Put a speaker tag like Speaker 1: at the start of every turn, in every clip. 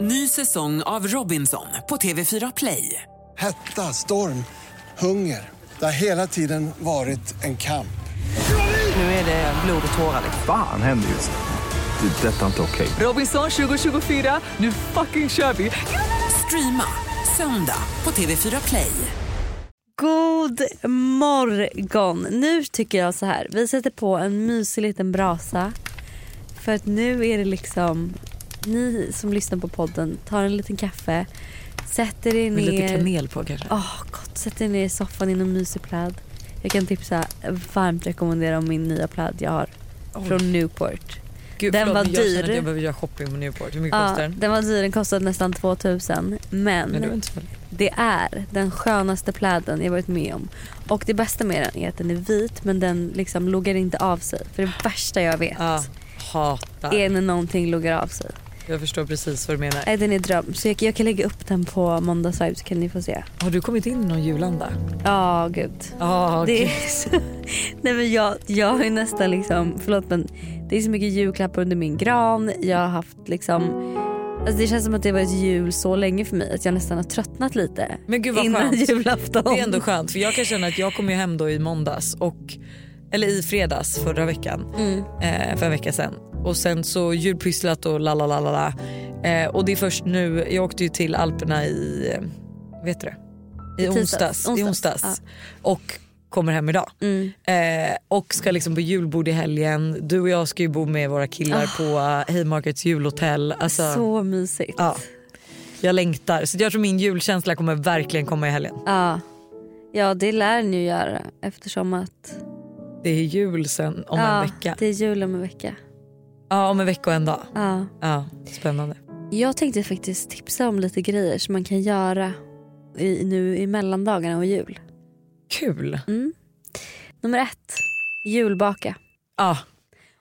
Speaker 1: Ny säsong av Robinson på TV4 Play.
Speaker 2: Hetta, storm, hunger. Det har hela tiden varit en kamp.
Speaker 1: Nu är det blod och tårar.
Speaker 3: Fan händer just nu. Det. är Detta är inte okej.
Speaker 1: Robinson 2024, nu fucking kör vi! Streama söndag på TV4 Play.
Speaker 4: God morgon! Nu tycker jag så här. Vi sätter på en mysig liten brasa. För att nu är det liksom... Ni som lyssnar på podden tar en liten kaffe, sätter er
Speaker 5: Med
Speaker 4: ner...
Speaker 5: lite kanel på kanske.
Speaker 4: Åh, gott. Sätter er ner i soffan i någon mysig pläd. Jag kan tipsa, varmt rekommendera om min nya pläd jag har från Newport.
Speaker 5: Gud,
Speaker 4: den var
Speaker 5: men Jag känner
Speaker 4: dyr.
Speaker 5: att jag behöver göra shopping på Newport. Hur mycket
Speaker 4: Ja,
Speaker 5: kostar den?
Speaker 4: den var dyr, den kostade nästan 2000 men
Speaker 5: Nej, det var inte så farligt.
Speaker 4: Det är den skönaste pläden jag varit med om. Och det bästa med den är att den är vit men den liksom loggar inte av sig. För det värsta jag vet
Speaker 5: Ja, Ah, hatar.
Speaker 4: är när någonting loggar av sig.
Speaker 5: Jag förstår precis vad du menar.
Speaker 4: Nej, den är dröm. Så jag, jag kan lägga upp den på måndags Vibe så kan ni få se.
Speaker 5: Har du kommit in i någon julanda?
Speaker 4: Ja, gud.
Speaker 5: Ja,
Speaker 4: Det
Speaker 5: gud.
Speaker 4: är så... Nej men jag, jag har ju nästan liksom, förlåt men det är så mycket julklappar under min gran. Jag har haft liksom, alltså det känns som att det har varit jul så länge för mig att jag nästan har tröttnat lite.
Speaker 5: Men gud vad
Speaker 4: innan
Speaker 5: skönt.
Speaker 4: julafton.
Speaker 5: Det är ändå skönt för jag kan känna att jag kom ju hem då i måndags och eller i fredags förra veckan
Speaker 4: Mm.
Speaker 5: eh, för en vecka sedan och sen så julpysslat och la la la la la Eh, och det är först nu, jag åkte ju till Alperna i, eh, vet du det? I,
Speaker 4: I tisdags.
Speaker 5: onsdags, I
Speaker 4: Onsdags, Mm.
Speaker 5: onsdags. och kommer hem idag. Eh, och ska liksom på julbord i helgen. Du och jag ska ju bo med våra killar på eh, Haymarkets julhotell. Alltså,
Speaker 4: Ah. Så mysigt.
Speaker 5: Ja. Jag längtar så jag tror min julkänsla kommer verkligen komma i helgen.
Speaker 4: Ja. ja det lär ni ju göra eftersom att
Speaker 5: Det är jul sen om
Speaker 4: ja,
Speaker 5: en vecka.
Speaker 4: det är jul om en vecka.
Speaker 5: Ja, om en vecka och en dag.
Speaker 4: Ja.
Speaker 5: Ja, spännande.
Speaker 4: Jag tänkte faktiskt tipsa om lite grejer som man kan göra i, nu i mellandagarna och jul.
Speaker 5: Kul.
Speaker 4: Nummer ett, julbaka.
Speaker 5: Ja,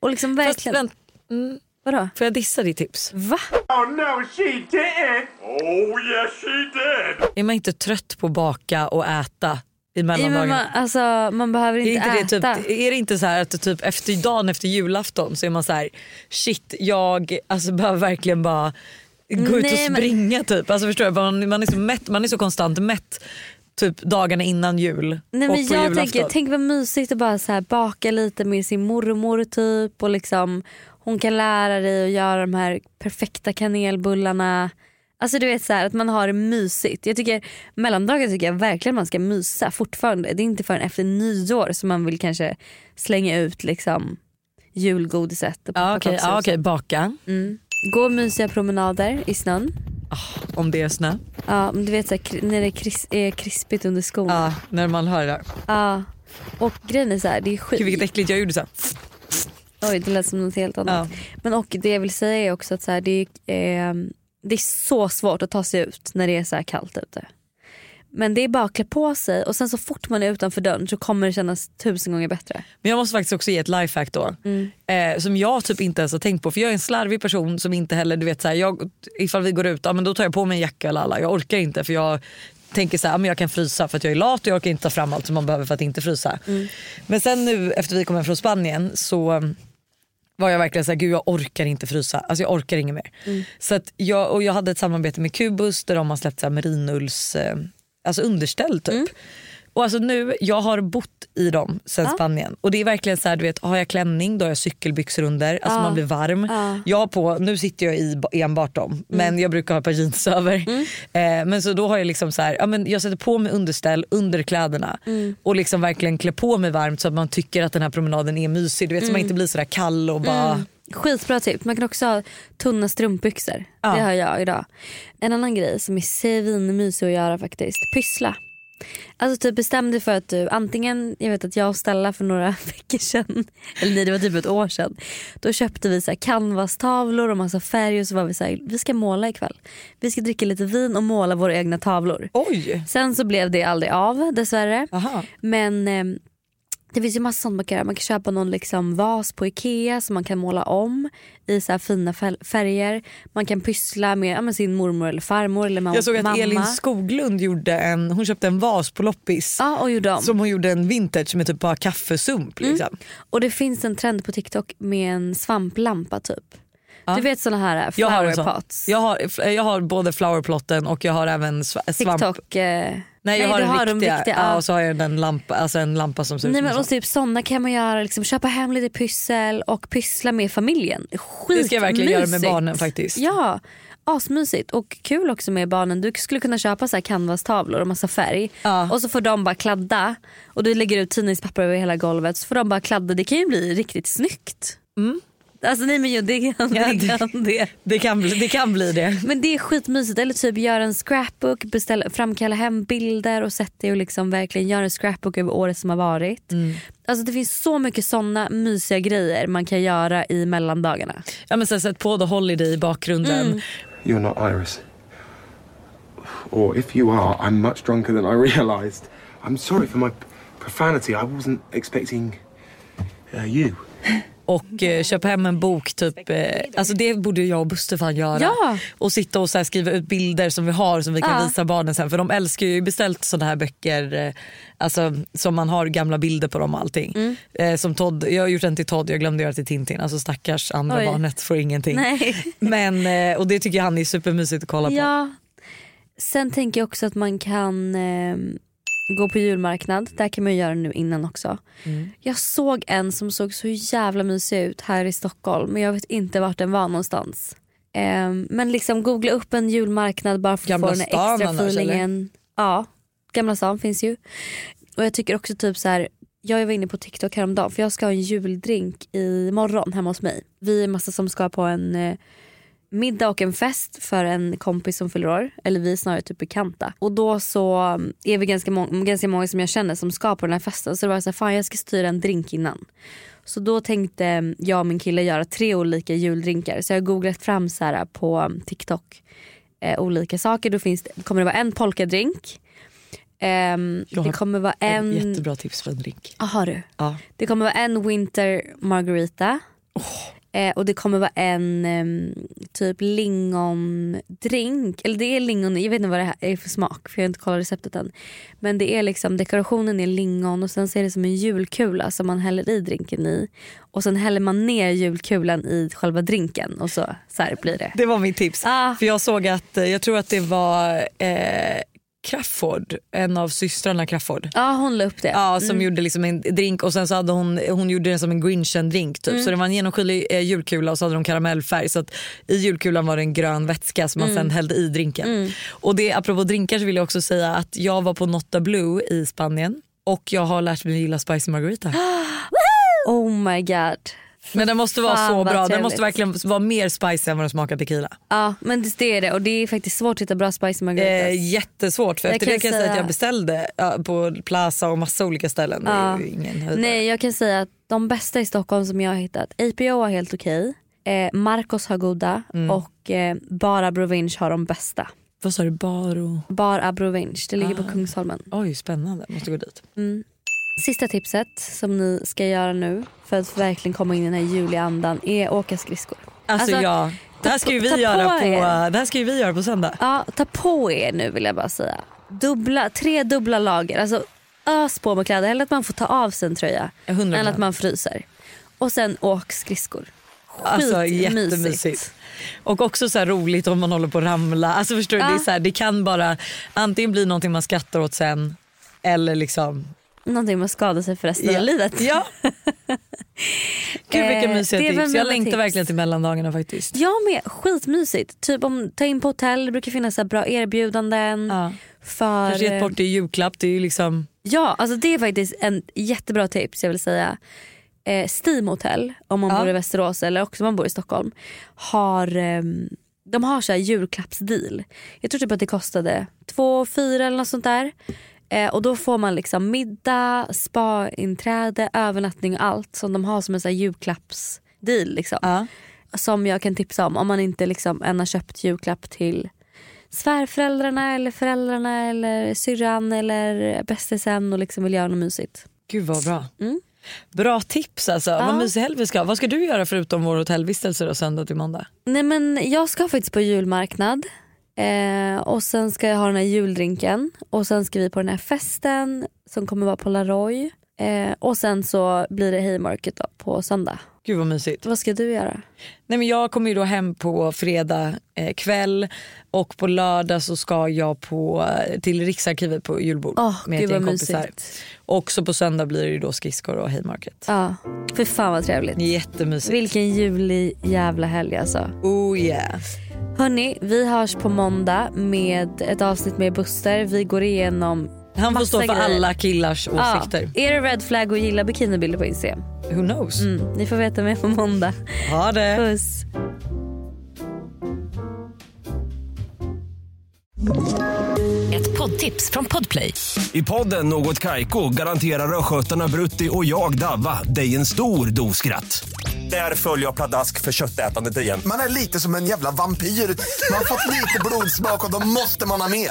Speaker 4: Och liksom
Speaker 5: fast
Speaker 4: verkligen...
Speaker 5: vänt, mm,
Speaker 4: Vadå?
Speaker 5: får jag dissa ditt tips?
Speaker 4: Va?
Speaker 6: Oh no, she didn't. Oh yes, she did.
Speaker 5: Är man inte trött på att baka och äta i
Speaker 4: Ja, men
Speaker 5: mellandagarna?
Speaker 4: man, alltså, man behöver
Speaker 5: Är,
Speaker 4: inte,
Speaker 5: inte det,
Speaker 4: äta.
Speaker 5: typ, är det inte så här att du typ efter dagen efter julafton så är man så här shit jag alltså, behöver verkligen bara gå ut och
Speaker 4: Nej, men-
Speaker 5: springa typ. Alltså, förstår du? Man, man, är så mätt, man är så konstant mätt typ dagarna innan jul
Speaker 4: Nej,
Speaker 5: och
Speaker 4: men
Speaker 5: på
Speaker 4: jag
Speaker 5: julafton.
Speaker 4: tänker, tänk vad mysigt att bara så här baka lite med sin mormor typ och liksom hon kan lära dig att göra de här perfekta kanelbullarna. Alltså du vet så här, att man har det mysigt. Jag tycker mellandagen tycker jag verkligen man ska mysa fortfarande. Det är inte förrän efter nyår som man vill kanske slänga ut liksom julgodiset och
Speaker 5: ja, okej,
Speaker 4: pepparkakshus.
Speaker 5: ja, okej, baka
Speaker 4: Mm. Gå mysiga promenader i snön.
Speaker 5: om det är snö.
Speaker 4: Ja, men du vet så här, kri- när det kris- är krispigt under skon.
Speaker 5: Ja, när man hör det där.
Speaker 4: Ja. Och grejen är så här, det är skit.
Speaker 5: Gud vilket äckligt jag gjorde så här.
Speaker 4: Oj, det lät som något helt annat. Men och det jag vill säga är också att så här, det, är, eh, det är så svårt att ta sig ut när det är så här kallt ute. Men det är bara att klä på sig och sen så fort man är utanför dörren så kommer det kännas tusen gånger bättre.
Speaker 5: Men jag måste faktiskt också ge ett lifehack då. Eh, som jag typ inte ens har tänkt på. För jag är en slarvig person som inte heller, du vet så här, jag, ifall vi går ut, ja, men då tar jag på mig en jacka eller alla. Jag orkar inte för jag tänker så här, ja, men jag kan frysa för att jag är lat och jag orkar inte ta fram allt som man behöver för att inte frysa. Men sen nu efter vi kom hem från Spanien så var jag verkligen såhär, gud jag orkar inte frysa. Alltså jag orkar inget mer. Så att jag, och jag hade ett samarbete med Kubus där de har släppt så här merinulls eh, alltså underställ typ. Och alltså nu, jag har bott i dem sen Spanien och det är verkligen så här, du vet har jag klänning då har jag cykelbyxor under, alltså man blir varm. Jag har på, nu sitter jag i ba- enbart dem
Speaker 4: Mm.
Speaker 5: men jag brukar ha ett par jeans över. Eh, men så då har jag liksom så här, ja, men jag sätter på mig underställ under kläderna
Speaker 4: Mm.
Speaker 5: och liksom verkligen klä på mig varmt så att man tycker att den här promenaden är mysig. Du vet så
Speaker 4: Mm.
Speaker 5: man inte blir sådär kall och bara
Speaker 4: Skitbra tips. Man kan också ha tunna strumpbyxor.
Speaker 5: Ja.
Speaker 4: Det har jag idag. En annan grej som är svinmysig att göra faktiskt. Pyssla. Alltså typ bestäm dig för att du antingen, jag vet att jag och Stella för några veckor sedan, eller nej det var typ ett år sedan. Då köpte vi så här canvas-tavlor och massa färg och så var vi så här, vi ska måla ikväll. Vi ska dricka lite vin och måla våra egna tavlor.
Speaker 5: Oj!
Speaker 4: Sen så blev det aldrig av dessvärre.
Speaker 5: Aha.
Speaker 4: Men eh, det finns ju massa sånt man kan göra. Man kan köpa någon liksom vas på Ikea som man kan måla om i så här fina fäl- färger. Man kan pyssla med, ja, med sin mormor eller farmor eller mam-
Speaker 5: Jag såg att
Speaker 4: mamma.
Speaker 5: Elin Skoglund gjorde en, hon köpte en vas på loppis
Speaker 4: Ja och gjorde om.
Speaker 5: som hon gjorde en vintage med typ bara
Speaker 4: Mm.
Speaker 5: kaffesump. Liksom.
Speaker 4: Och det finns en trend på TikTok med en svamplampa typ. Du vet såna här
Speaker 5: Jag har, en
Speaker 4: flower
Speaker 5: sån.
Speaker 4: pots.
Speaker 5: jag, har, jag har både flowerplotten och jag har även sva- svamp.
Speaker 4: TikTok. Eh,
Speaker 5: Nej, jag har,
Speaker 4: du
Speaker 5: den
Speaker 4: har de
Speaker 5: riktiga.
Speaker 4: riktiga.
Speaker 5: ja.
Speaker 4: ja.
Speaker 5: och så har jag den lampa, alltså en lampa som ser ut
Speaker 4: Nej,
Speaker 5: som
Speaker 4: men
Speaker 5: en
Speaker 4: och
Speaker 5: svamp.
Speaker 4: typ sådana kan man göra, liksom, köpa hem lite pyssel och pyssla med familjen. Skitmysigt.
Speaker 5: Det ska jag verkligen göra med barnen faktiskt.
Speaker 4: Ja, asmysigt och kul också med barnen. Du skulle kunna köpa så här canvas-tavlor och massa färg
Speaker 5: Ja.
Speaker 4: och så får de bara kladda och du lägger ut tidningspapper över hela golvet så får de bara kladda. Det kan ju bli riktigt snyggt. Alltså nej men ju, det kan,
Speaker 5: Mm. Ja,
Speaker 4: det
Speaker 5: det-
Speaker 4: kan det.
Speaker 5: Det, kan bli, det kan bli det.
Speaker 4: Men det är skitmysigt. Eller typ göra en scrapbook, beställa, framkalla hem bilder och sätt dig och liksom verkligen göra en scrapbook över året som har varit. Alltså Det finns så mycket såna mysiga grejer man kan göra i mellandagarna.
Speaker 5: Ja, men sen sätt på The Holiday i bakgrunden.
Speaker 4: Mm.
Speaker 7: You're not Iris. Or if you are, I'm much drunker than I realised. I'm sorry for my p- profanity. I wasn't expecting uh, you.
Speaker 5: och eh, köpa hem en bok. Typ, eh, alltså det borde jag och Buster fan göra.
Speaker 4: Ja.
Speaker 5: Och sitta och så här skriva ut bilder som vi har som vi kan
Speaker 4: Ja.
Speaker 5: visa barnen sen. För de älskar ju jag har ju beställt sådana här böcker eh, alltså, som man har gamla bilder på dem och allting.
Speaker 4: Mm.
Speaker 5: Eh, som Todd, jag har gjort en till Todd, jag glömde göra till Tintin. Alltså stackars andra
Speaker 4: Oj.
Speaker 5: barnet får ingenting.
Speaker 4: Nej.
Speaker 5: Men, eh, och det tycker han är supermysigt att kolla på.
Speaker 4: Ja. Sen tänker jag också att man kan eh, gå på julmarknad. Där kan man ju göra nu innan också.
Speaker 5: Mm.
Speaker 4: Jag såg en som såg så jävla mysig ut här i Stockholm men jag vet inte vart den var någonstans. Eh, men liksom googla upp en julmarknad bara för att
Speaker 5: Gamla
Speaker 4: få den här
Speaker 5: stan
Speaker 4: extra
Speaker 5: annars,
Speaker 4: feelingen. Ja, Gamla stan finns ju. Och jag tycker också typ så här. Jag var inne på TikTok häromdagen för jag ska ha en juldrink imorgon hemma hos mig. Vi är massa som ska på en eh, middag och en fest för en kompis som fyller år. Eller vi är snarare typ bekanta. Och då så mm, är vi ganska, må- ganska många som jag känner som ska på den här festen. Så det var så här, fan jag ska styra en drink innan. Så då tänkte mm, jag och min kille göra tre olika juldrinkar. Så jag har googlat fram så här på mm, TikTok eh, olika saker. Då finns det, kommer det vara en polkadrink. Ehm,
Speaker 5: Jag
Speaker 4: det
Speaker 5: har
Speaker 4: kommer vara
Speaker 5: En...
Speaker 4: en...
Speaker 5: Jättebra tips för en drink.
Speaker 4: Ah, har du?
Speaker 5: Ja.
Speaker 4: Det kommer vara en Winter Margarita. Eh, och det kommer vara en em, typ lingondrink. Eller det är lingon, jag vet inte vad det här är för smak för jag har inte kollat receptet än. Men det är liksom dekorationen är lingon och sen ser det som en julkula som man häller i drinken i. Och sen häller man ner julkulan i själva drinken och så, så här blir det.
Speaker 5: Det var mitt tips.
Speaker 4: Ah.
Speaker 5: För jag såg att, eh, jag tror att det var eh, Crafoord, en av systrarna Crafoord.
Speaker 4: Ja hon la upp det.
Speaker 5: Ja, som gjorde liksom en drink och sen så hade hon, hon gjorde den som en Grinchen-drink typ.
Speaker 4: Mm.
Speaker 5: Så det var en genomskinlig eh, julkula och så hade de karamellfärg. Så att i julkulan var det en grön vätska som man
Speaker 4: Mm.
Speaker 5: sen hällde i drinken. Och det, apropå drinkar så vill jag också säga att jag var på Nota Blue i Spanien och jag har lärt mig att gilla spicy margarita.
Speaker 4: Oh my god.
Speaker 5: Men den måste vara
Speaker 4: Fan,
Speaker 5: så
Speaker 4: vad
Speaker 5: bra, den
Speaker 4: trevligt.
Speaker 5: måste verkligen vara mer spicy än vad den smakar tequila.
Speaker 4: Ja men det, det är det och det är faktiskt svårt att hitta bra spicy margaritas.
Speaker 5: Eh, jättesvårt för
Speaker 4: Jag
Speaker 5: efter
Speaker 4: kan
Speaker 5: det kan jag säga att
Speaker 4: säga-
Speaker 5: jag beställde ja, på Plaza och massa olika ställen. Det är ju ingen höjdare.
Speaker 4: Nej jag kan säga att de bästa i Stockholm som jag har hittat, APO har helt okej, eh, Marcos har goda
Speaker 5: Mm.
Speaker 4: och eh, Bar Abrovinch har de bästa.
Speaker 5: Vad sa du, Baro?
Speaker 4: Bar Abrovinch, det
Speaker 5: Ah.
Speaker 4: ligger på Kungsholmen.
Speaker 5: Oj spännande, måste gå dit.
Speaker 4: Sista tipset som ni ska göra nu för att verkligen komma in i den här juliga andan är åka skridskor.
Speaker 5: Alltså, ja, det här ska ju
Speaker 4: ta-
Speaker 5: vi
Speaker 4: ta på
Speaker 5: göra på,
Speaker 4: er.
Speaker 5: det här ska ju vi göra på söndag.
Speaker 4: Ja, ta på er nu vill jag bara säga. Dubbla, tre dubbla lager. Alltså ös på med kläder. Hellre att man får ta av sig en tröja
Speaker 5: 100%.
Speaker 4: än att man fryser. Och sen åk skridskor.
Speaker 5: Alltså
Speaker 4: Skitmysigt.
Speaker 5: jättemysigt. Och också så här roligt om man håller på att ramla. Alltså förstår du,
Speaker 4: Ja.
Speaker 5: det, är så här, det kan bara antingen bli någonting man skrattar åt sen eller liksom...
Speaker 4: Någonting man skadar sig för resten
Speaker 5: Ja.
Speaker 4: av livet.
Speaker 5: Ja. Gud vilka
Speaker 4: Eh,
Speaker 5: mysiga
Speaker 4: det är väl
Speaker 5: tips.
Speaker 4: mina
Speaker 5: Jag längtar
Speaker 4: tips.
Speaker 5: verkligen till mellandagarna faktiskt.
Speaker 4: Jag med, skitmysigt. Typ om ta in på hotell, det brukar finnas så här bra erbjudanden.
Speaker 5: Ja.
Speaker 4: För, eh,
Speaker 5: Kanske gett bort det i julklapp. Det är ju liksom...
Speaker 4: Ja, alltså det är faktiskt en jättebra tips jag vill säga. Eh, Steam Hotel, om man
Speaker 5: Ja.
Speaker 4: bor i Västerås eller också om man bor i Stockholm, har, ehm, de har så här julklappsdeal. Jag tror typ att det kostade 2 fyra eller något sånt där. Eh, och då får man liksom middag, spa-inträde, övernattning och allt som de har som en så här julklappsdeal. Liksom.
Speaker 5: Ja.
Speaker 4: Som jag kan tipsa om om man inte liksom än har köpt julklapp till svärföräldrarna eller föräldrarna eller syrran eller bästisen och liksom vill göra något mysigt.
Speaker 5: Gud vad bra.
Speaker 4: Mm.
Speaker 5: Bra tips alltså. Vad mysig helg vi ska ha. Vad ska du göra förutom vår hotellvistelse då, söndag till måndag?
Speaker 4: Nej men jag ska faktiskt på julmarknad eh, och sen ska jag ha den här juldrinken och sen ska vi på den här festen som kommer vara på Laroy. Eh, och sen så blir det Haymarket då, på söndag.
Speaker 5: Gud vad mysigt.
Speaker 4: Vad ska du göra?
Speaker 5: Nej, men jag kommer ju då hem på fredag eh, kväll och på lördag så ska jag på, eh, till Riksarkivet på julbord
Speaker 4: Åh, gud vad mysigt.
Speaker 5: Och så på söndag blir det ju då skridskor och Haymarket.
Speaker 4: Ja, för fan vad trevligt.
Speaker 5: Jättemysigt.
Speaker 4: Vilken julig jävla helg alltså.
Speaker 5: Oh yeah.
Speaker 4: Hörni, vi hörs på måndag med ett avsnitt med Buster. Vi går igenom
Speaker 5: Han får
Speaker 4: massa
Speaker 5: stå för
Speaker 4: grejer.
Speaker 5: alla killars
Speaker 4: Ja.
Speaker 5: åsikter.
Speaker 4: Är det red flag och gilla bikinibilder på Instagram?
Speaker 5: Who knows?
Speaker 4: Mm, ni får veta mer på måndag.
Speaker 5: Ha det.
Speaker 4: Puss!
Speaker 8: Ett poddtips från Podplay.
Speaker 9: I podden Något Kaiko garanterar östgötarna Brutti och jag, Davva, dig en stor dos skratt. Där följer jag pladask för köttätandet igen.
Speaker 10: Man är lite som en jävla vampyr. Man har fått lite blodsmak och då måste man ha mer.